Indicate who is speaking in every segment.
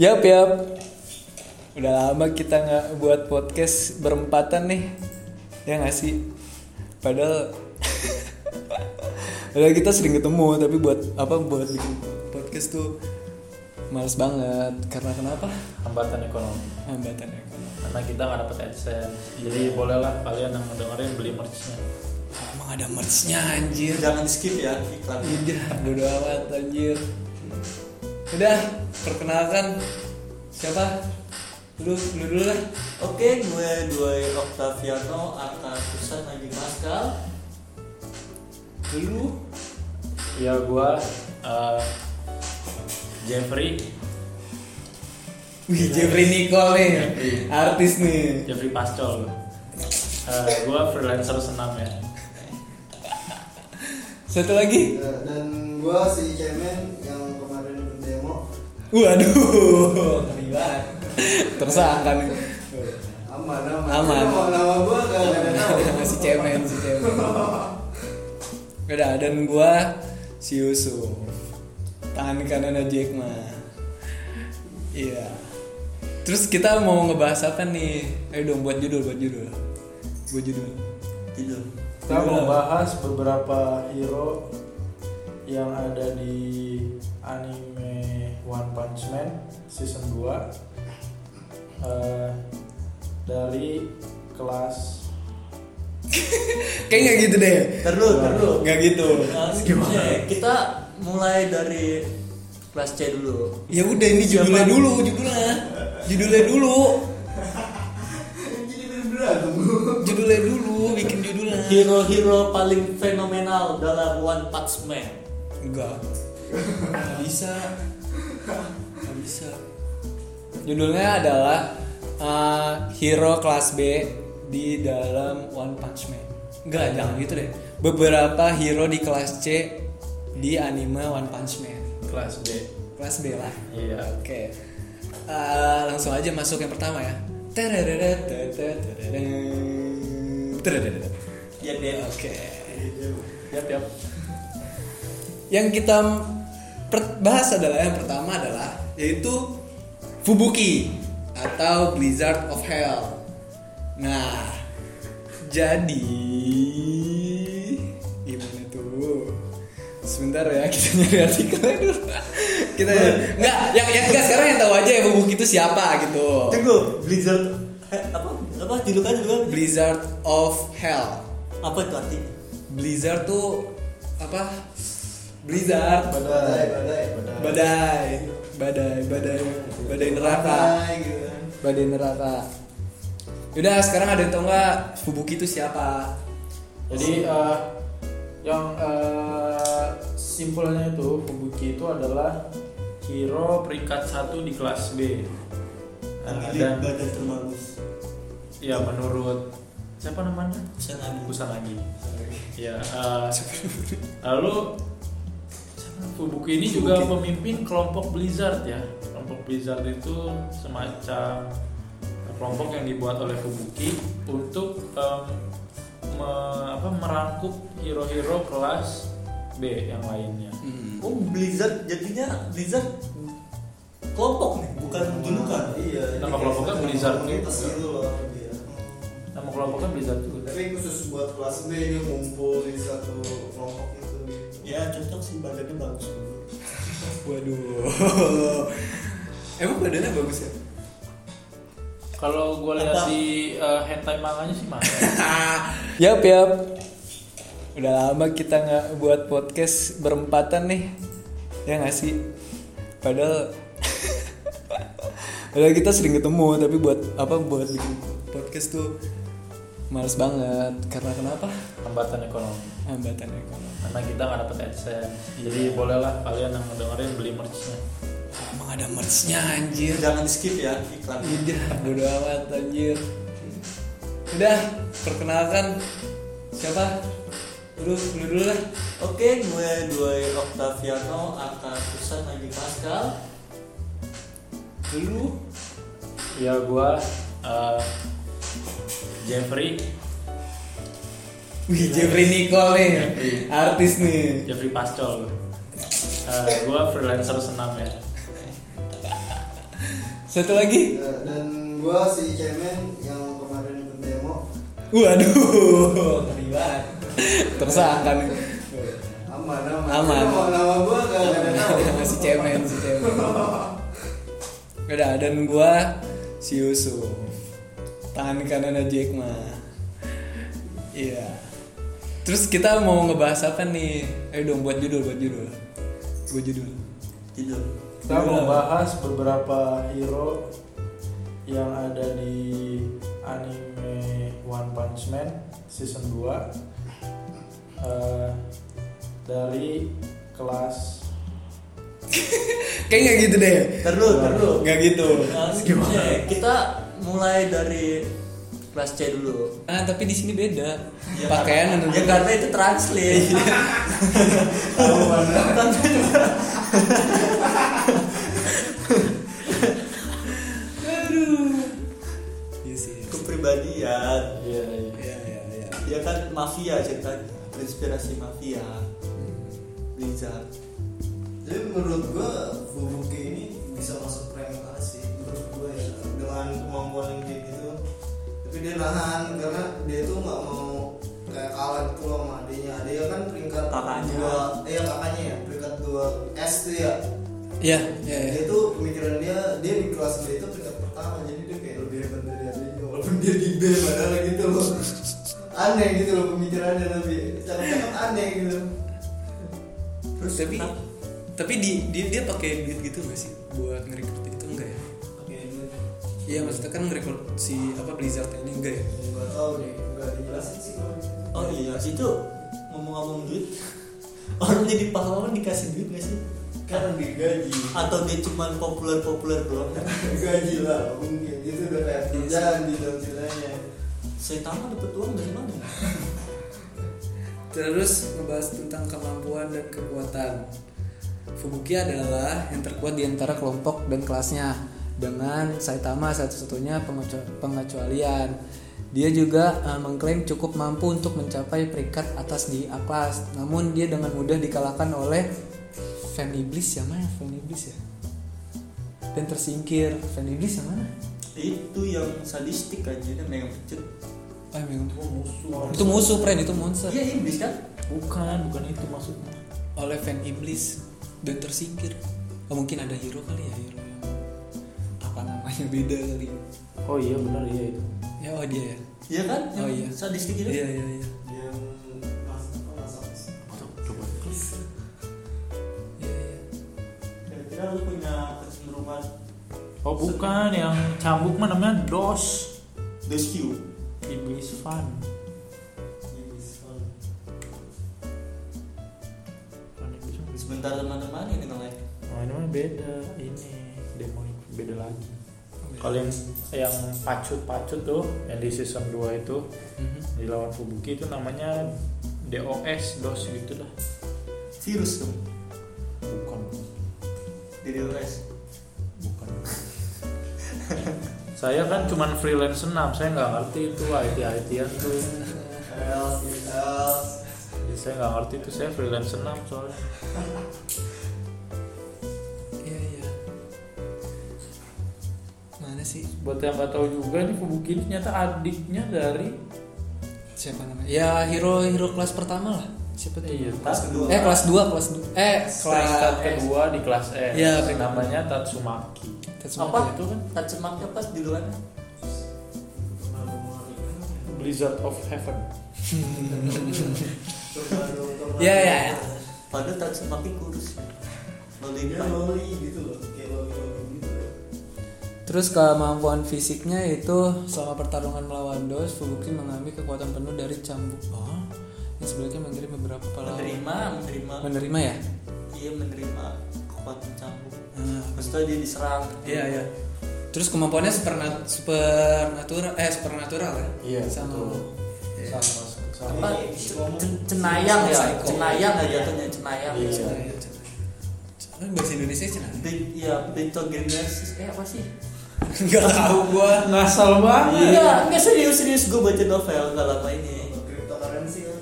Speaker 1: Yap, yap. Udah lama kita nggak buat podcast berempatan nih. Ya nggak sih? Padahal Padahal kita sering ketemu, tapi buat apa buat bikin podcast tuh males banget. Karena kenapa?
Speaker 2: hambatan ekonomi
Speaker 1: Hambatan ekonomi.
Speaker 2: karena kita nggak dapat adsense jadi bolehlah kalian yang mau dengerin beli merchnya
Speaker 1: Emang ada merchnya anjir.
Speaker 3: Jangan di skip ya iklan.
Speaker 1: Iya, bodo amat anjir. Udah, perkenalkan siapa? Lu, lu dulu lah.
Speaker 3: Oke, gue Dwi Octaviano Arta Susan Haji Pascal.
Speaker 1: Lu
Speaker 2: ya gua eh, Jeffrey
Speaker 1: Wih, Jeffrey Nicole nih, artis nih.
Speaker 2: Jeffrey Pascol Eh, gua freelancer senam ya
Speaker 1: Satu lagi,
Speaker 4: Ya, dan gua si Cemen yang kemarin demo
Speaker 1: waduh, tersangka nih.
Speaker 4: aman aman
Speaker 1: Aman.
Speaker 4: Nama, nama gua gak ada nama
Speaker 1: si cemen, si cemen. Udah, dan gua si Yusuf. Tangan kanan Jack Ma. Iya. Terus kita mau ngebahas apa nih? Ayo dong buat judul, buat judul. Buat judul.
Speaker 3: Tidur.
Speaker 2: kita mau bahas beberapa hero yang ada di anime One Punch Man season 2 Eh, dari kelas
Speaker 1: Kayak nggak gitu deh.
Speaker 3: Terlu, terlu.
Speaker 1: Nggak gitu.
Speaker 3: Gimana? Nah, eh, Kita mulai dari kelas C dulu.
Speaker 1: Ya udah ini judulnya
Speaker 3: Siapa?
Speaker 1: dulu, judulnya. Judulnya dulu.
Speaker 4: jadi berantem
Speaker 1: judulnya dulu bikin judulnya
Speaker 3: Hero-hero paling fenomenal dalam One Punch Man.
Speaker 1: enggak nggak bisa nggak bisa judulnya adalah uh, hero kelas B di dalam One Punch Man enggak jangan gitu deh beberapa hero di kelas C di anime One Punch Man
Speaker 2: kelas B
Speaker 1: kelas B lah
Speaker 2: iya
Speaker 1: Oke. Eh, langsung aja masuk yang pertama ya. Tereret, tereret, tereret, tereret.
Speaker 3: Ya, Dep.
Speaker 1: Oke.
Speaker 2: Yap, yap.
Speaker 1: Yang kita per- bahas adalah yang pertama adalah yaitu Fubuki atau Blizzard of Hell. Nah, jadi gimana tuh? Sebentar ya kita nyari artikelnya dulu. kita nggak yang yang enggak sekarang yang tahu aja ya Fubuki itu siapa gitu.
Speaker 3: Tunggu, Blizzard eh, apa apa julukan julukan
Speaker 1: Blizzard of Hell.
Speaker 3: apa itu arti?
Speaker 1: Blizzard tuh apa? Blizzard
Speaker 4: badai badai badai
Speaker 1: badai badai badai badai neraka
Speaker 4: badai gitu kan
Speaker 1: badai neraka yaudah sekarang ada yang tau nggak Fubuki itu siapa
Speaker 2: Jadi eh, yang eh, simpelnya itu Fubuki itu adalah hero peringkat satu di kelas B. Eh,
Speaker 3: Ambil
Speaker 2: dan
Speaker 3: badan terbagus.
Speaker 2: ya menurut siapa namanya?
Speaker 3: Kusanagi.
Speaker 2: Kusanagi. Ya. eh, lalu siapa? Fubuki ini juga
Speaker 1: Fubuki.
Speaker 2: pemimpin kelompok Blizzard ya. Kelompok Blizzard itu semacam kelompok yang dibuat oleh Fubuki untuk em, me- apa, merangkup hero-hero kelas B yang lainnya.
Speaker 1: Hmm.
Speaker 3: Oh Blizzard jadinya Blizzard kelompok nih bukan julukan.
Speaker 4: iya
Speaker 2: Nama
Speaker 4: jadi
Speaker 2: kelompoknya
Speaker 4: kayak
Speaker 2: Blizzard
Speaker 4: komunitas
Speaker 2: gitu.
Speaker 4: gitu loh dia.
Speaker 2: Nama kelompoknya Blizzard juga.
Speaker 4: tapi khusus buat kelas B ini ngumpul di satu kelompok itu
Speaker 3: Ya cocok sih badannya bagus dulu.
Speaker 1: waduh emang badannya bagus ya
Speaker 2: Kalau gue lihat di eh, hentai manganya sih ya? mah.
Speaker 1: yap yap udah lama kita nggak buat podcast berempatan nih ya nggak sih padahal padahal kita sering ketemu tapi buat apa buat bikin podcast tuh males banget karena kenapa kan.
Speaker 2: Hambatan ekonomi.
Speaker 1: hambatan ekonomi
Speaker 2: Karena kita nggak dapet adsense. Jadi bolehlah kalian yang mau dengerin beli merchnya.
Speaker 1: Emang ada merchnya anjir
Speaker 3: Jangan di skip ya iklan.
Speaker 1: Udah bodo amat anjir Udah perkenalkan Siapa? Lu, lu dulu lah
Speaker 3: Oke gue Dwi Octaviano Arta Susan Haji Pascal.
Speaker 1: Lu
Speaker 2: Ya gua eh, Jeffrey,
Speaker 1: Wih Jeffrey Nicole nih Artis nih
Speaker 2: Jeffrey Pascol. Eh, gua freelancer senam ya.
Speaker 1: Satu lagi.
Speaker 4: Ya, dan gua si Cemen yang kemarin ikut demo
Speaker 1: Waduh, ngeri banget. Tersangka nih.
Speaker 4: aman aman
Speaker 1: Aman.
Speaker 4: Nama, nama gua gak ada tahu
Speaker 1: si cemen, si cemen. Udah, dan gua si Yusuf. Tangan kanannya Jack Ma. Iya. Terus kita mau ngebahas apa nih? Ayo dong buat judul, buat judul. Buat judul.
Speaker 3: Tidur.
Speaker 2: Kita mau bahas beberapa hero yang ada di anime One Punch Man season 2 eh, dari kelas
Speaker 1: Kayak nggak gitu deh.
Speaker 3: Terus, terus.
Speaker 1: Nggak gitu.
Speaker 3: Gimana? Kita mulai dari kelas C dulu.
Speaker 1: Ah, tapi di sini beda. Pakaian Iya. menurut
Speaker 3: Ya
Speaker 1: gua-
Speaker 3: karena itu translate.
Speaker 1: Iya sih.
Speaker 3: Kepribadian.
Speaker 2: Iya, iya.
Speaker 1: Iya, iya, iya.
Speaker 3: Dia kan mafia ceritanya, terinspirasi mafia. Blizzard.
Speaker 4: jadi menurut gua Fubuki ini bisa masuk prime banget sih menurut gua ya dengan kemampuan yang kayak gitu tapi dia nahan karena dia tuh nggak mau kayak kalah gitu sama adiknya adiknya kan peringkat
Speaker 3: Kakaknya.
Speaker 4: dua eh ya kakaknya ya peringkat dua S tuh ya
Speaker 1: Iya, iya, iya.
Speaker 4: dia tuh pemikiran dia dia di kelas B itu peringkat pertama jadi dia kayak lebih hebat dari adiknya walaupun dia di B padahal gitu loh aneh gitu loh pemikirannya lebih cakep-cakep aneh gitu
Speaker 1: Terus tapi tapi di, dia dia pakai duit gitu gak sih buat ngerekrut gitu enggak ya?
Speaker 4: oke duit
Speaker 1: Iya maksudnya kan ngerekrut si apa Blizzard ini enggak ya?
Speaker 4: Gak tau deh, gak dijelasin sih kalau gitu.
Speaker 3: Oh iya, itu ngomong-ngomong duit. Orang jadi pahlawan dikasih duit gak sih?
Speaker 4: Kan digaji
Speaker 3: Atau dia cuman populer-populer doang?
Speaker 4: Gaji lah, mungkin Itu udah kayak kerjaan di dalam ceritanya
Speaker 3: Setan mah dapet uang dari mana?
Speaker 1: Terus ngebahas tentang kemampuan dan kekuatan. Fubuki adalah yang terkuat di antara kelompok dan kelasnya dengan Saitama satu-satunya pengecu- pengecualian. Dia juga eh, mengklaim cukup mampu untuk mencapai peringkat atas di A-class. Namun dia dengan mudah dikalahkan oleh Fan Iblis yang mana? Fan Iblis ya. Dan tersingkir. Fan Iblis yang mana?
Speaker 3: Itu yang sadistik aja, dia megang pecut.
Speaker 1: Oh, yang megang tubuh.
Speaker 2: musuh.
Speaker 1: itu musuh, friend. Itu monster.
Speaker 3: Iya, iblis kan?
Speaker 2: Bukan, bukan itu maksudnya.
Speaker 1: oleh fan iblis dan tersingkir oh, mungkin ada hero kali ya hero yang apa namanya beda kali
Speaker 2: Oh iya benar iya itu.
Speaker 1: ya oh dia ya
Speaker 3: Iya kan? Yang
Speaker 1: Oh, iya.
Speaker 3: Sadistik itu?
Speaker 1: iya iya iya
Speaker 4: Yang mas, apa masak
Speaker 1: Iya, iya.
Speaker 3: Kira-kira lu punya kecenderungan
Speaker 2: Oh bukan yang cambuk mah namanya dos.
Speaker 3: Deus Q?
Speaker 2: Iblis fun. Fun iblis fun.
Speaker 3: Sebentar teman-teman ini ngelek
Speaker 2: Nah, ini mah beda ini demo beda lagi. Kalau yang yang pacut-pacut tuh yang di season 2 itu
Speaker 1: Mhm.
Speaker 2: di lawan Fubuki itu namanya DOS dos gitu dah.
Speaker 3: Virus dong,
Speaker 2: Bukan
Speaker 3: DDoS
Speaker 2: bukan. saya kan cuman freelance senam, saya nggak ngerti itu IT ITan tuh.
Speaker 4: Else, else
Speaker 2: Jadi saya nggak ngerti itu saya freelance senam soalnya.
Speaker 1: iya iya mana sih
Speaker 2: Buat yang nggak tahu juga nih Fubuki ini ternyata adiknya dari
Speaker 1: siapa namanya ya hero hero kelas pertama lah siapa tuh
Speaker 2: Iya,
Speaker 3: Kelas kedua
Speaker 1: eh kelas 2 kelas 2 eh
Speaker 2: peringkat
Speaker 1: kelas
Speaker 2: kedua di kelas S.
Speaker 1: Iya,
Speaker 2: namanya Tatsumaki.
Speaker 1: Tatsumaki.
Speaker 2: Apa itu kan?
Speaker 3: Tatsumaknya pas di luar
Speaker 2: Blizzard of Heaven.
Speaker 4: Kemarin, kemarin
Speaker 1: Iya, iya, iya.
Speaker 3: Padahal Tatsumaki kurus Loli
Speaker 4: Dia
Speaker 3: Pan
Speaker 4: loli gitu loh, kayak loli-loli gitu
Speaker 1: Terus kemampuan fisiknya itu selama pertarungan melawan Dos, Fubuki mengambil kekuatan penuh dari cambuk. Oh, yang sebelumnya mengirim beberapa pahlawan.
Speaker 3: Menerima, menerima
Speaker 1: Menerima ya?
Speaker 3: Iya menerima kekuatan cambuk
Speaker 2: Ah,
Speaker 1: Nah,
Speaker 3: Maksudnya dia diserang
Speaker 1: Iya iya. Terus kemampuannya supernat supernatural eh supernatural ya?
Speaker 2: Iya,
Speaker 1: Sama.
Speaker 2: betul.
Speaker 1: Iya.
Speaker 2: Sama sama.
Speaker 3: Apa?
Speaker 4: Ngomong.
Speaker 3: Cen- Cenayang ya?
Speaker 1: Psycho.
Speaker 3: Cenayang ya jatuhnya, cenayang
Speaker 2: Iya.
Speaker 1: Cina, iya, Cina. Cina, kan bahasa Indonesia Cina.
Speaker 3: Be- Iya, betogenesis Eh apa sih?
Speaker 1: Enggak tahu gua.
Speaker 2: Ngasal banget.
Speaker 3: Iya, enggak serius-serius gue baca novel gak lama ini
Speaker 4: Cryptocurrency kan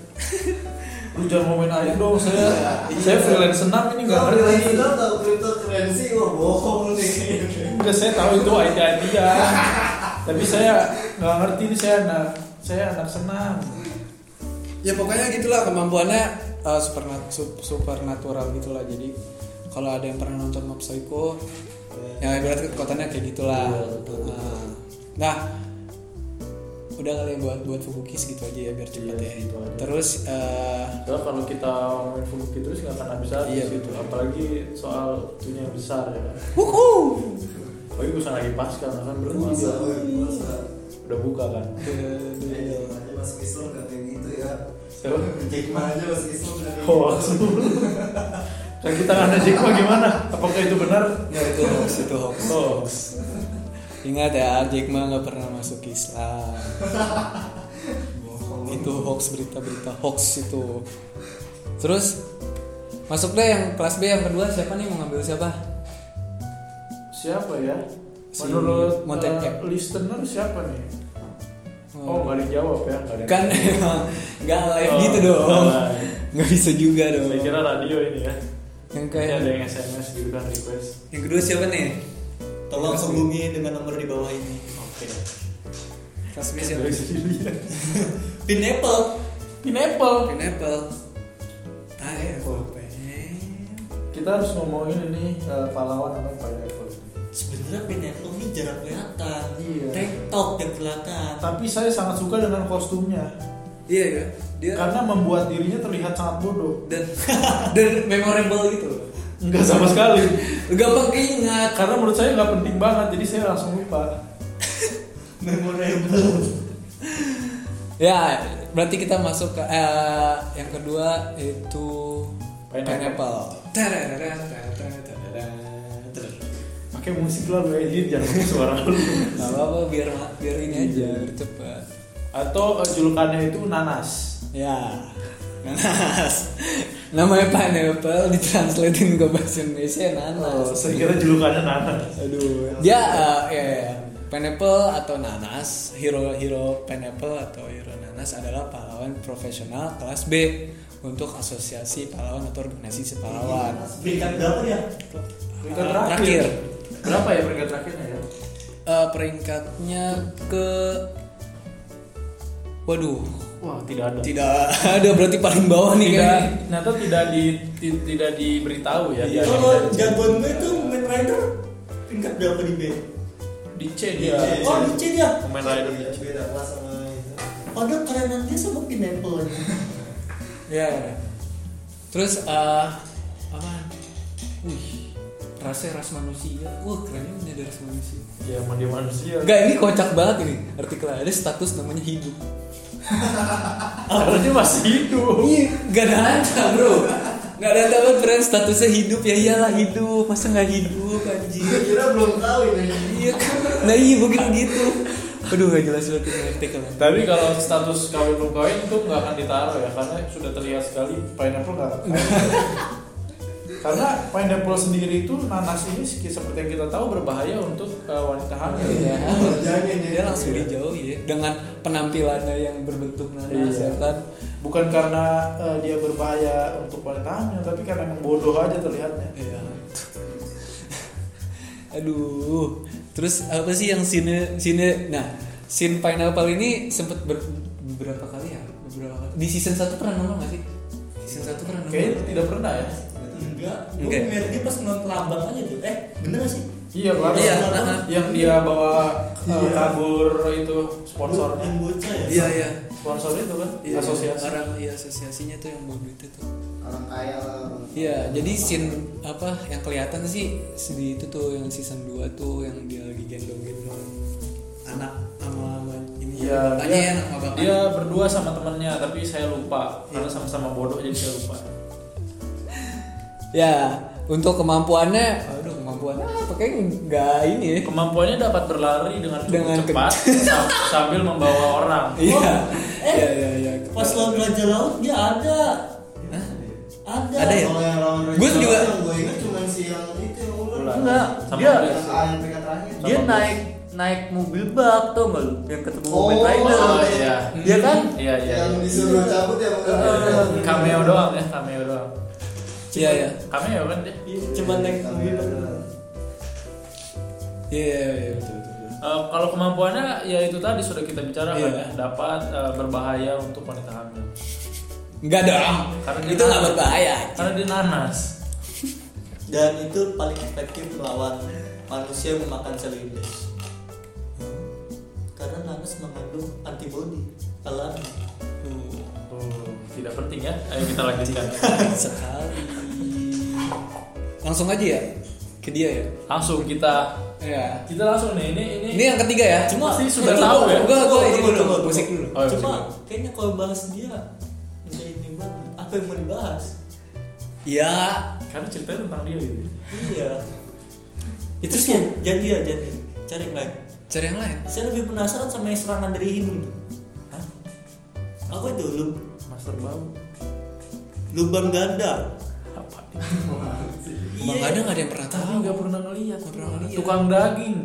Speaker 2: Lu jangan ngomongin aja dong, saya
Speaker 1: Iya.
Speaker 2: saya freelance senam ini nggak
Speaker 4: Kalau
Speaker 2: ngerti.
Speaker 4: bilang tau cryptocurrency, wah bohong nih
Speaker 2: udah saya tahu itu idea dia tapi saya nggak ngerti ini saya anak saya anak senang
Speaker 1: ya pokoknya gitulah kemampuannya eh, superna- sup- supernatural gitulah jadi kalau ada yang pernah nonton Mob Psycho yang ibarat kekuatannya kayak gitulah Nah, nah udah kali ya buat buat Fubuki segitu aja ya biar cepat
Speaker 2: Iya,
Speaker 1: ya
Speaker 2: gitu aja.
Speaker 1: terus eh,
Speaker 2: Soalnya kalau kita ngomongin Fubuki terus nggak akan habis habis
Speaker 1: Iya,
Speaker 2: gitu
Speaker 1: betul.
Speaker 2: apalagi soal itunya yang besar ya kan
Speaker 1: wuhu Iya.
Speaker 2: apalagi bukan lagi pasca kan belum
Speaker 4: Masa,
Speaker 2: dia
Speaker 4: woy, masa.
Speaker 2: udah buka kan
Speaker 4: Eh,
Speaker 2: iya.
Speaker 4: Jack Ma aja masuk Islam gak kayak gitu ya.
Speaker 2: Siapa? Oh,
Speaker 4: Jack Ma aja masuk Islam gak kayak
Speaker 2: hoax
Speaker 4: gitu.
Speaker 2: kan kita nggak ada Jack Ma gimana apakah itu benar
Speaker 1: ya itu hoax itu hoax
Speaker 2: hoax
Speaker 1: ingat ya Jack Ma nggak pernah masuk Islam
Speaker 4: Bohong.
Speaker 1: itu hoax berita-berita hoax itu terus masuk deh yang kelas B yang kedua siapa nih mau ngambil siapa
Speaker 2: siapa ya
Speaker 1: Si
Speaker 2: menurut
Speaker 1: Mountain
Speaker 2: eh,
Speaker 1: Cap.
Speaker 2: listener siapa nih
Speaker 1: Hmm.
Speaker 2: oh nggak ada yang jawab ya nggak ada yang
Speaker 1: kan
Speaker 2: jawab.
Speaker 1: emang nggak live gitu
Speaker 2: Oh,
Speaker 1: dong
Speaker 2: nah,
Speaker 1: nggak bisa juga dong
Speaker 2: saya kira radio ini ya
Speaker 1: yang
Speaker 2: ini ada
Speaker 1: kayak
Speaker 2: yang sms gitu kan request
Speaker 1: yang kedua siapa nih
Speaker 3: Tolong sambungi dengan nomor di bawah ini. Oke.
Speaker 1: kelas B siapa
Speaker 2: dari sendiri ya
Speaker 3: Pin apple.
Speaker 2: pineapple
Speaker 1: pineapple ah ya apa
Speaker 2: kita harus ngomongin ini eh, pahlawan namanya pineapple
Speaker 3: Sebenarnya pin apple ini jarang kelihatan.
Speaker 2: Iya.
Speaker 3: TikTok yang kelihatan.
Speaker 2: tapi saya sangat suka dengan kostumnya
Speaker 1: iya ya dia
Speaker 2: karena membuat dirinya terlihat sangat bodoh
Speaker 1: dan dan memorable gitu
Speaker 2: enggak sama sekali
Speaker 1: gampang keinget
Speaker 2: karena menurut saya nggak penting banget jadi saya langsung lupa
Speaker 3: Memorable.
Speaker 1: Ya, berarti kita masuk ke eh, yang kedua itu
Speaker 2: Pineapple.
Speaker 1: pineapple. Tararara, tararara, tararara.
Speaker 2: pakai musik lalu edit jangan pakai suara lu
Speaker 1: Gak apa-apa biar biar ini aja
Speaker 2: Iya.
Speaker 1: biar cepat.
Speaker 2: atau eh, julukannya itu nanas
Speaker 1: Ya. Nanas. Namanya pineapple ditranslatein ke bahasa Indonesia
Speaker 2: oh,
Speaker 1: nanas.
Speaker 2: saya kira julukannya nanas
Speaker 1: Aduh. Dia eh, ya, ya. Pineapple atau nanas, hero hero pineapple atau hero nanas adalah pahlawan profesional kelas B untuk asosiasi pahlawan atau organisasi
Speaker 2: Iya,
Speaker 1: pahlawan.
Speaker 3: Berikan berapa ya?
Speaker 2: peringkat
Speaker 1: Ah,
Speaker 2: terakhir.
Speaker 1: terakhir.
Speaker 2: berapa ya peringkat terakhirnya ya
Speaker 1: Eh, peringkatnya ke waduh
Speaker 2: wah tidak ada
Speaker 1: tidak ada berarti paling bawah nih
Speaker 2: tidak
Speaker 1: kayaknya.
Speaker 2: ternyata tidak di ti- tidak diberitahu ya
Speaker 1: Iya.
Speaker 2: di-
Speaker 1: Oh,
Speaker 3: Kalau jagoan gue itu Kamen Rider tingkat berapa di B?
Speaker 2: di C dia
Speaker 4: Di
Speaker 1: Iya.
Speaker 3: Oh di C dia.
Speaker 2: Iya. pemain rider
Speaker 4: Iya, beda kelas sama itu.
Speaker 3: Padahal kerenannya sama pin apple.
Speaker 1: ya ya. terus eh apa wih rasa ras manusia wah kerennya punya ada ras manusia
Speaker 2: ya mandi manusia
Speaker 1: enggak ini kocak banget ini artikelnya ada status namanya hidup
Speaker 2: karena dia masih hidup
Speaker 1: iya nggak ada data bro nggak ada data friend statusnya hidup ya iyalah hidup masa nggak hidup anjing
Speaker 4: Gua Iya, kira belum tahu ini.
Speaker 1: iya kan nah iya begitu gitu aduh nggak jelas banget ini artikelnya
Speaker 2: tapi kalau status kawin belum kawin itu nggak akan ditaruh ya karena sudah terlihat sekali pineapple nggak akan kawin. karena pineapple sendiri itu nanas ini seki- seperti yang kita tahu berbahaya untuk eh, wanita hamil
Speaker 1: Iya.
Speaker 4: Jangan ya.
Speaker 1: dia langsung
Speaker 2: Iya.
Speaker 1: dijauhi ya dengan penampilannya yang berbentuk nanas
Speaker 2: Iya.
Speaker 1: ya kan
Speaker 2: bukan karena eh, dia berbahaya untuk wanita hamil tapi karena emang bodoh aja terlihatnya
Speaker 1: Iya. aduh terus apa sih yang sini sini nah scene pineapple ini sempet ber- beberapa kali ya beberapa kali di season 1 pernah nongol nggak sih season 1 pernah nongol
Speaker 2: kayaknya tidak pernah ya
Speaker 3: Enggak. Gue
Speaker 1: Enggak.
Speaker 3: ngeliat dia pas nonton abang aja tuh. Eh bener gak sih?
Speaker 2: iya kan
Speaker 1: Iya,
Speaker 2: yang dia bawa eh,
Speaker 3: Iya.
Speaker 2: kabur itu
Speaker 3: Yang
Speaker 2: sponsornya
Speaker 3: bocah ya.
Speaker 1: iya iya
Speaker 2: sponsor itu kan
Speaker 1: Iya,
Speaker 2: asosiasi
Speaker 1: orang iya asosiasinya tuh yang bawa duit itu
Speaker 4: Orang kaya lah.
Speaker 1: Iya, jadi scene apa yang kelihatan sih di itu tuh yang season 2 tuh yang dia lagi gendong-gendong anak sama sama ini
Speaker 2: Iya,
Speaker 1: bapaknya ya,
Speaker 2: dia,
Speaker 1: anak sama Iya. bapaknya.
Speaker 2: dia berdua sama temennya, tapi saya lupa karena sama-sama bodoh jadi saya lupa.
Speaker 1: Ya, untuk kemampuannya, aduh kemampuannya apa kayaknya nggak ini ya.
Speaker 2: Kemampuannya dapat berlari dengan cukup
Speaker 1: Dengan
Speaker 2: cepat sam- sambil membawa orang.
Speaker 1: Iya.
Speaker 2: Oh,
Speaker 3: eh.
Speaker 1: Iya, iya, iya.
Speaker 3: Pas lawan raja laut dia ada. Ada.
Speaker 1: Ada ya?
Speaker 4: Kalau yang lawan
Speaker 1: Gua
Speaker 4: Rachel
Speaker 1: juga-
Speaker 4: yang gue ingat cuma si yang itu yang ular.
Speaker 2: Ular.
Speaker 5: Enggak,
Speaker 2: Sama
Speaker 5: dia
Speaker 2: dia.
Speaker 4: Yang ayam peringkat terakhir.
Speaker 5: dia
Speaker 2: Sama
Speaker 5: naik naik mobil bak tuh nggak lu yang ketemu
Speaker 4: Oh,
Speaker 5: Kamen Rider.
Speaker 4: oh,
Speaker 2: iya.
Speaker 5: Iya kan?
Speaker 2: Iya iya.
Speaker 4: Yang disuruh cabut ya bukan?
Speaker 1: Eh,
Speaker 2: iya. Cameo doang ya, cameo doang.
Speaker 1: Iya, iya.
Speaker 2: Cameo kan dia.
Speaker 3: Iya, Coba naik mobil.
Speaker 1: Iya, iya, iya, betul, betul. betul.
Speaker 2: Eh, kalau kemampuannya ya itu tadi sudah kita bicarakan
Speaker 1: Iya.
Speaker 2: ya dapat eh, berbahaya untuk wanita hamil
Speaker 1: Enggak dong.
Speaker 2: Karena dia
Speaker 1: itu nggak
Speaker 2: tahu.
Speaker 1: berbahaya.
Speaker 2: karena dia nanas
Speaker 3: dan itu paling efektif melawan manusia yang memakan sel lindas karena nanas mengandung antibodi alam
Speaker 1: Tuh,
Speaker 2: Tuh, tidak penting ya ayo kita lanjutkan
Speaker 1: sekali. Langsung aja ya ke dia ya.
Speaker 2: langsung kita
Speaker 1: Iya.
Speaker 2: kita langsung nih ini ini,
Speaker 1: Ini yang ketiga ya. Cuma
Speaker 3: eh,
Speaker 2: Pasti sudah
Speaker 1: Tunggu,
Speaker 2: tahu ya?
Speaker 1: Gua gua ini
Speaker 3: Tunggu,
Speaker 1: dulu,
Speaker 3: tunggu,
Speaker 1: musik dulu.
Speaker 2: Oh, iya,
Speaker 3: cuma
Speaker 2: betul.
Speaker 3: kayaknya kalau bahas dia nggak ini banget apa yang mau dibahas
Speaker 1: Iya.
Speaker 2: karena ceritanya tentang dia gitu
Speaker 3: iya itu sih jangan dia jangan cari yang lain
Speaker 1: Cari yang lain.
Speaker 3: saya lebih penasaran sama yang serangan dari hidung tuh. Hah? apa itu Lu-
Speaker 2: master bau
Speaker 3: lubang ganda
Speaker 2: apa nih
Speaker 1: Bang Ada nggak ada yang pernah
Speaker 2: tapi
Speaker 1: tahu.
Speaker 2: nggak pernah ngeliat
Speaker 1: Nggak pernah ngeliat.
Speaker 2: tukang daging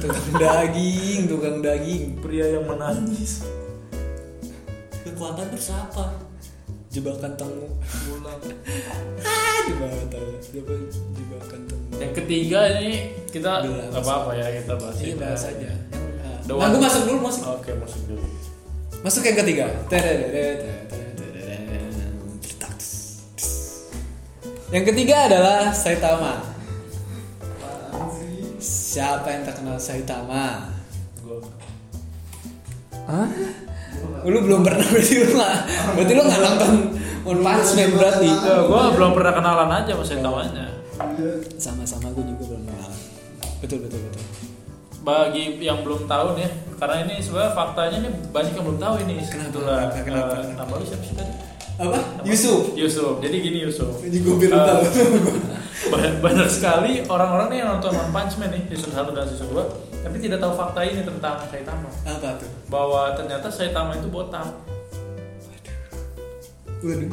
Speaker 1: Tukang daging, tukang daging.
Speaker 2: pria yang menangis
Speaker 3: kekuatan terus apa
Speaker 1: Jebakan temu.
Speaker 2: pulang
Speaker 1: Ah, jebakan temu. Jebakan- Jebakan temu.
Speaker 2: yang ketiga ini kita
Speaker 1: Udah,
Speaker 2: nggak apa apa ya kita bahas
Speaker 1: Iya
Speaker 2: ini.
Speaker 1: bahas aja. Yang-
Speaker 2: The
Speaker 1: Nah,
Speaker 2: one.
Speaker 1: gua masuk dulu masuk.
Speaker 2: oke masuk dulu
Speaker 1: Masuk yang ketiga. Yang ketiga adalah Saitama. Siapa yang tak kenal Saitama?
Speaker 2: Gua.
Speaker 1: Hah? Oh, Lu belum pernah berarti lu nggak, berarti lu nggak nonton One Punch Man berarti.
Speaker 2: Eh,
Speaker 1: iya.
Speaker 2: gua belum pernah kenalan aja mas Saitama-nya
Speaker 1: Sama-sama gue juga belum kenal. Betul betul betul.
Speaker 2: bagi yang belum tahu nih karena ini sebenarnya faktanya nih banyak yang belum tahu ini sebetulnya
Speaker 1: kenapa, kenapa,
Speaker 2: Eh,
Speaker 1: kenapa?
Speaker 2: nama lu siapa sih tadi
Speaker 1: Apa?
Speaker 2: Nama?
Speaker 1: Yusuf.
Speaker 2: Yusuf jadi gini Yusuf
Speaker 1: Ini gue belum
Speaker 2: Eh,
Speaker 1: tahu.
Speaker 2: banyak, banyak sekali orang-orang nih yang nonton One Punch Man nih season 1 dan season 2 tapi tidak tahu fakta ini tentang Saitama
Speaker 1: Apa tuh?
Speaker 2: bahwa ternyata Saitama itu botak
Speaker 1: Waduh.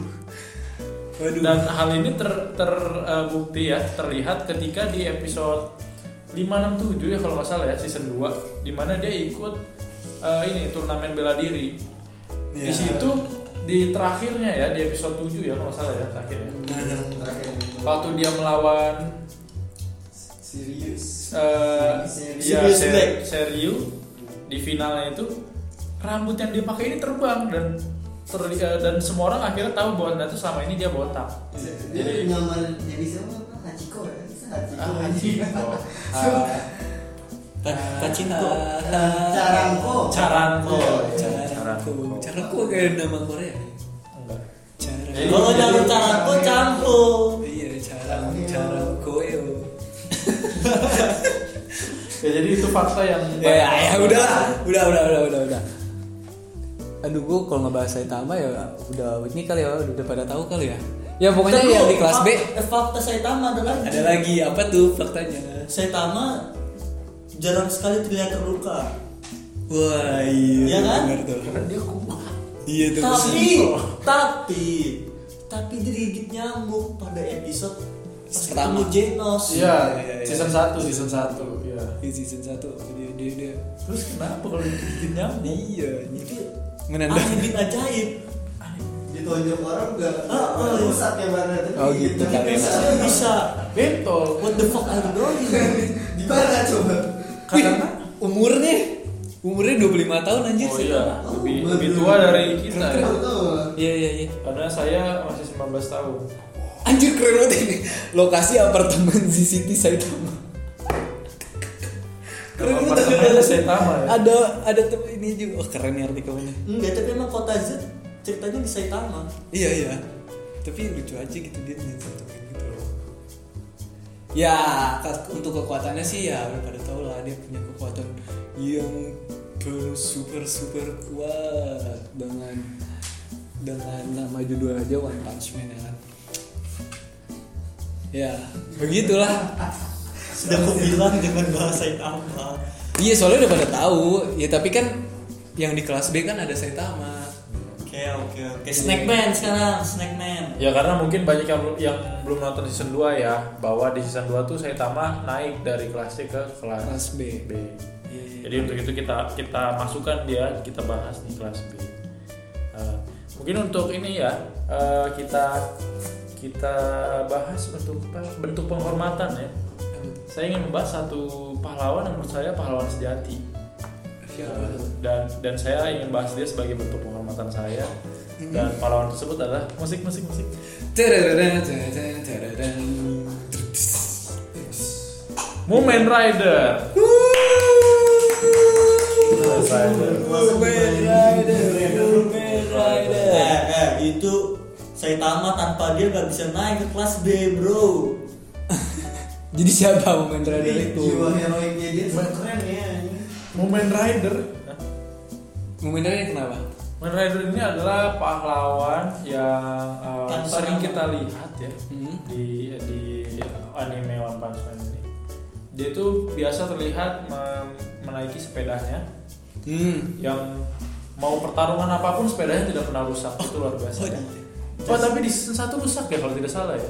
Speaker 1: Waduh.
Speaker 2: dan hal ini ter- terbukti ya terlihat ketika di episode 567 ya kalau nggak salah ya season 2 dimana dia ikut eh, ini turnamen bela diri
Speaker 1: Ya.
Speaker 2: di situ di terakhirnya ya di episode 7 ya kalau nggak salah ya terakhirnya
Speaker 4: Yang terakhir itu.
Speaker 2: waktu dia melawan
Speaker 4: serius
Speaker 2: eh,
Speaker 4: Serius.
Speaker 2: ya,
Speaker 3: Serious
Speaker 2: Ser-
Speaker 3: Black.
Speaker 2: Seriu di finalnya itu rambut yang dia pakai ini terbang dan terli- eh, dan semua orang akhirnya tahu bahwa ternyata selama ini dia botak
Speaker 4: dia
Speaker 2: Jadi-
Speaker 4: nyamar jadi siapa Hachiko ya Bisa Hachiko
Speaker 2: Ah,
Speaker 4: anjing.
Speaker 2: Hachiko.
Speaker 4: Sumpah.
Speaker 3: Kacinko
Speaker 4: Carangko
Speaker 2: Carangko.
Speaker 1: Caraku. Caraku kayak nama Korea.
Speaker 2: Enggak.
Speaker 1: Caraku.
Speaker 2: Eh,
Speaker 3: kalau nyari carangko cangko
Speaker 1: Iya, caraku, caraku. yo.
Speaker 2: ya jadi itu fakta yang
Speaker 1: Ya, ya, ya, udah, lah. udah, udah, udah, udah, udah. Aduh, gua kalau ngebahas Saitama ya udah ini kali ya, udah pada tahu kali ya. Ya pokoknya yang di kelas B
Speaker 3: Fakta- eh, fakta Saitama ada lagi
Speaker 1: ada lagi apa tuh faktanya?
Speaker 3: Saitama jarang sekali terlihat terluka
Speaker 1: Wah, iya.
Speaker 3: Iya kan?
Speaker 1: bener tuh.
Speaker 2: dia kuat
Speaker 1: Iya tuh.
Speaker 3: tapi tapi tapi digigit nyamuk pada episode pas
Speaker 1: Pertama.
Speaker 3: ketemu Genos
Speaker 2: iya
Speaker 1: iya, iya.
Speaker 2: season 1 season 1 iya
Speaker 1: Di season 1 dia dia dia.
Speaker 2: terus kenapa kalau digigit nyamuk
Speaker 1: Iya,
Speaker 3: itu
Speaker 1: menandakan
Speaker 3: aneh bin ajaib
Speaker 4: ditonjok orang nggak
Speaker 3: Ah, ah.
Speaker 4: nggak rusak ya badan
Speaker 1: Oh, gitu, kali ya.
Speaker 3: bisa bisa
Speaker 2: betul
Speaker 3: what the fuck are you doing
Speaker 4: di mana coba
Speaker 1: Karena umurnya umurnya 25 tahun anjir.
Speaker 2: oh
Speaker 1: sih.
Speaker 2: iya
Speaker 4: Oh,
Speaker 2: lebih
Speaker 4: betul.
Speaker 2: lebih tua dari kita
Speaker 4: Nggak
Speaker 2: ya
Speaker 4: tahu lah.
Speaker 1: Iya iya iya.
Speaker 2: karena saya masih 19 tahun
Speaker 1: Anjir keren banget ini. Lokasi apartemen ZCT Saitama. Keren banget ada
Speaker 2: Apartemen Saitama ya?
Speaker 1: Ada ada tuh ini juga. Oh, keren nih artikelnya.
Speaker 3: enggak tapi emang kota Z ceritanya di Saitama
Speaker 1: Iya iya. Tapi lucu aja gitu dia nyentuhin gitu loh. Ya, ke- untuk kekuatannya sih ya udah pada tau lah dia punya kekuatan yang ke- super super kuat dengan dengan nama judul aja One Punch Man ya kan. Ya, begitulah.
Speaker 3: sudah aku bilang jangan bahas Saitama
Speaker 1: Iya, soalnya udah pada tahu. Ya tapi kan yang di kelas B kan ada Saitama.
Speaker 3: oke oke oke Snackman sekarang Snackman
Speaker 2: ya karena mungkin banyak yang belum yang belum nonton season 2 ya bahwa di season 2 tuh Saitama naik dari kelas C ke kelas
Speaker 1: Kelas B.
Speaker 2: B
Speaker 1: Iya, iya.
Speaker 2: jadi untuk itu kita kita masukkan dia kita bahas di kelas B Eh, mungkin untuk ini ya eh, kita kita bahas untuk apa, bentuk penghormatan ya saya ingin membahas satu pahlawan yang menurut saya pahlawan sejati Eh,
Speaker 1: Siapa tuh?
Speaker 2: dan dan saya ingin bahas dia sebagai bentuk penghormatan saya
Speaker 1: Mm-hmm.
Speaker 2: dan pahlawan tersebut adalah musik musik musik
Speaker 1: Tadadadada, tadadadada.
Speaker 2: Moment Rider
Speaker 1: Woman Rider, Woman Rider.
Speaker 3: Eh, eh, itu saya tamat tanpa dia nggak bisa naik ke kelas B bro.
Speaker 1: Jadi siapa Woman Rider
Speaker 4: Jadi
Speaker 1: itu?
Speaker 4: Iya, jiwa heroiknya dia tuh keren ya anjing.
Speaker 2: Moment Rider
Speaker 1: Woman Rider kenapa?
Speaker 2: Moment Rider ini adalah pahlawan yang eh,
Speaker 3: Tanpa
Speaker 2: sering
Speaker 3: nama.
Speaker 2: kita lihat ya
Speaker 1: Hmm.
Speaker 2: di di anime One Punch Man ini dia tuh biasa terlihat mem- menaiki sepedanya
Speaker 1: Hmm.
Speaker 2: yang mau pertarungan apapun sepedanya tidak pernah rusak itu luar biasa
Speaker 1: Oh,
Speaker 2: Wah tapi di season 1 rusak ya kalau tidak salah ya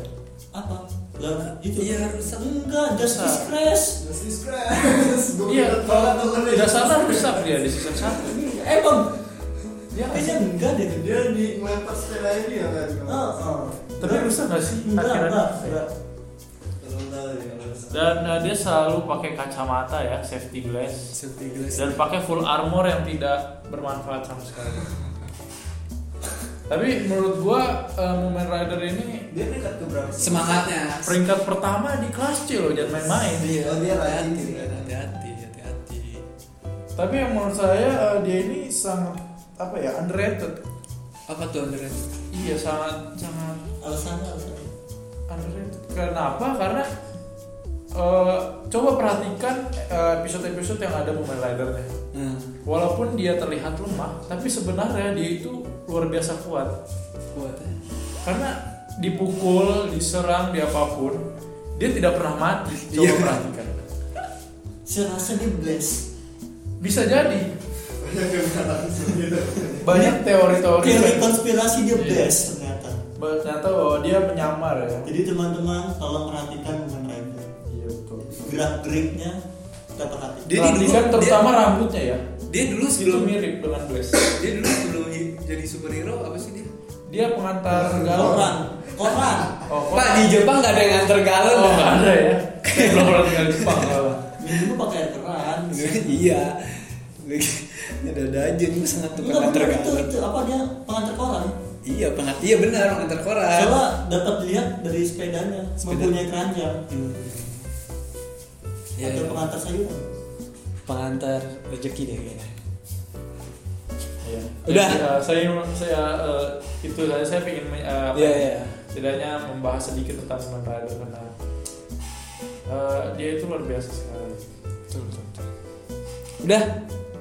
Speaker 3: Apa? Lah itu.
Speaker 1: Iya, rusak.
Speaker 3: Enggak,
Speaker 2: Rusak.
Speaker 3: Justice Crash.
Speaker 4: Justice Crash. Gua
Speaker 2: Iya,
Speaker 4: bener banget tuh kan
Speaker 2: Tidak salah rusak dia di season 1
Speaker 3: Eh bang,
Speaker 2: Ya
Speaker 3: kayaknya enggak deh.
Speaker 4: Dia di melempar sepedanya dia kan.
Speaker 3: Ah, ah.
Speaker 2: Tapi rusak gak sih?
Speaker 3: Enggak,
Speaker 2: Akhirnya
Speaker 3: enggak, enggak.
Speaker 4: Belum tahu ya. belum tahu.
Speaker 2: Dan eh, dia selalu pakai kacamata ya, safety glass
Speaker 1: Seperti gelas.
Speaker 2: Dan pakai full armor yang tidak bermanfaat sama sekali Tapi menurut gua eh, Moment Rider ini
Speaker 4: Dia peringkat ke berapa sih?
Speaker 1: Semangatnya.
Speaker 2: peringkat pertama di kelas C loh, jangan main-main
Speaker 1: Iya,
Speaker 4: Oh, dia rajin
Speaker 1: hati-hati,
Speaker 4: sih, kan?
Speaker 1: hati-hati, hati-hati.
Speaker 2: Tapi yang menurut saya eh, dia ini sangat apa ya underrated.
Speaker 1: Apa tuh Andre?
Speaker 2: Iya sangat sangat
Speaker 3: Alasannya alasannya.
Speaker 2: underrated. Kenapa? Karena eh, coba perhatikan eh, episode-episode yang ada Moment Rider-nya.
Speaker 1: Hmm.
Speaker 2: Walaupun dia terlihat lemah, tapi sebenarnya dia itu luar biasa kuat.
Speaker 1: Kuat ya.
Speaker 2: Karena dipukul, diserang, di apapun, dia tidak pernah mati. Coba
Speaker 1: Iya.
Speaker 2: perhatikan.
Speaker 3: Saya rasa dia blessed.
Speaker 2: Bisa jadi
Speaker 4: Banyak yang bilang langsung gitu.
Speaker 2: banyak teori-teori.
Speaker 3: Teori konspirasi dia
Speaker 2: Oh, Iya.
Speaker 3: blessed ternyata.
Speaker 2: Ternyata bahwa dia menyamar ya.
Speaker 3: Jadi teman-teman tolong perhatikan dengan rambut.
Speaker 2: Iya betul. Nah,
Speaker 3: Gerak geriknya kita perhatikan.
Speaker 1: Dia
Speaker 2: Dia
Speaker 1: ini
Speaker 2: perhatikan
Speaker 1: dulu-
Speaker 2: terutama rambutnya ya.
Speaker 1: Dia dulu
Speaker 2: Itu
Speaker 1: sebelum
Speaker 2: mirip dengan Blaze.
Speaker 1: dia dulu sebelum hi- jadi superhero apa sih dia?
Speaker 2: Dia pengantar galon.
Speaker 3: Koran, koran.
Speaker 2: Oh, kok-
Speaker 1: Pak di Jepang nggak ada yang nganter galon.
Speaker 2: Oh, nggak
Speaker 1: Pak.
Speaker 2: ada ya. Saya Belum pernah tinggal di Jepang. galon.
Speaker 3: Minggu pakai air keran.
Speaker 1: iya. Lagi ada ada aja gue sangat tuh
Speaker 3: Enggak
Speaker 1: pengantar
Speaker 3: bener itu,
Speaker 1: galon.
Speaker 3: itu apa dia pengantar koran?
Speaker 1: Iya pengat iya benar pengantar koran.
Speaker 3: Soalnya dapat dilihat dari sepedanya,
Speaker 1: Sepeda.
Speaker 3: mempunyai keranjang
Speaker 1: Hmm. Ya,
Speaker 3: atau
Speaker 1: ya.
Speaker 3: pengantar sayuran.
Speaker 1: pengantar rezeki deh kayaknya.
Speaker 2: Iya.
Speaker 1: Udah.
Speaker 2: Jadi, eh, saya saya eh, itu saja saya pengen me- eh, apa
Speaker 1: Iya
Speaker 2: ya,
Speaker 1: iya.
Speaker 2: setidaknya membahas sedikit tentang Sunan Rider karena eh, dia itu luar biasa sekali.
Speaker 1: Betul, betul, betul. Udah,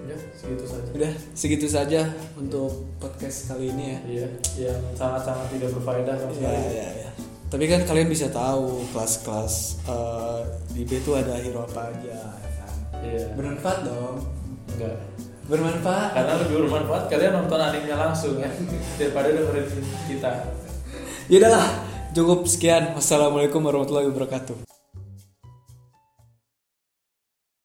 Speaker 2: Ya, segitu saja.
Speaker 1: udah segitu saja untuk podcast kali ini ya.
Speaker 2: Iya, yang sangat-sangat tidak berfaedah sama
Speaker 1: Iya,
Speaker 2: sekali.
Speaker 1: iya, iya. Tapi kan kalian bisa tahu kelas-kelas eh, di B itu ada hero apa aja. ya kan?
Speaker 2: Iya.
Speaker 1: Bermanfaat dong.
Speaker 2: Enggak.
Speaker 1: Bermanfaat.
Speaker 2: Karena lebih bermanfaat kalian nonton animenya langsung ya daripada dengerin kita.
Speaker 1: Ya udahlah, cukup sekian. Wassalamualaikum warahmatullahi wabarakatuh.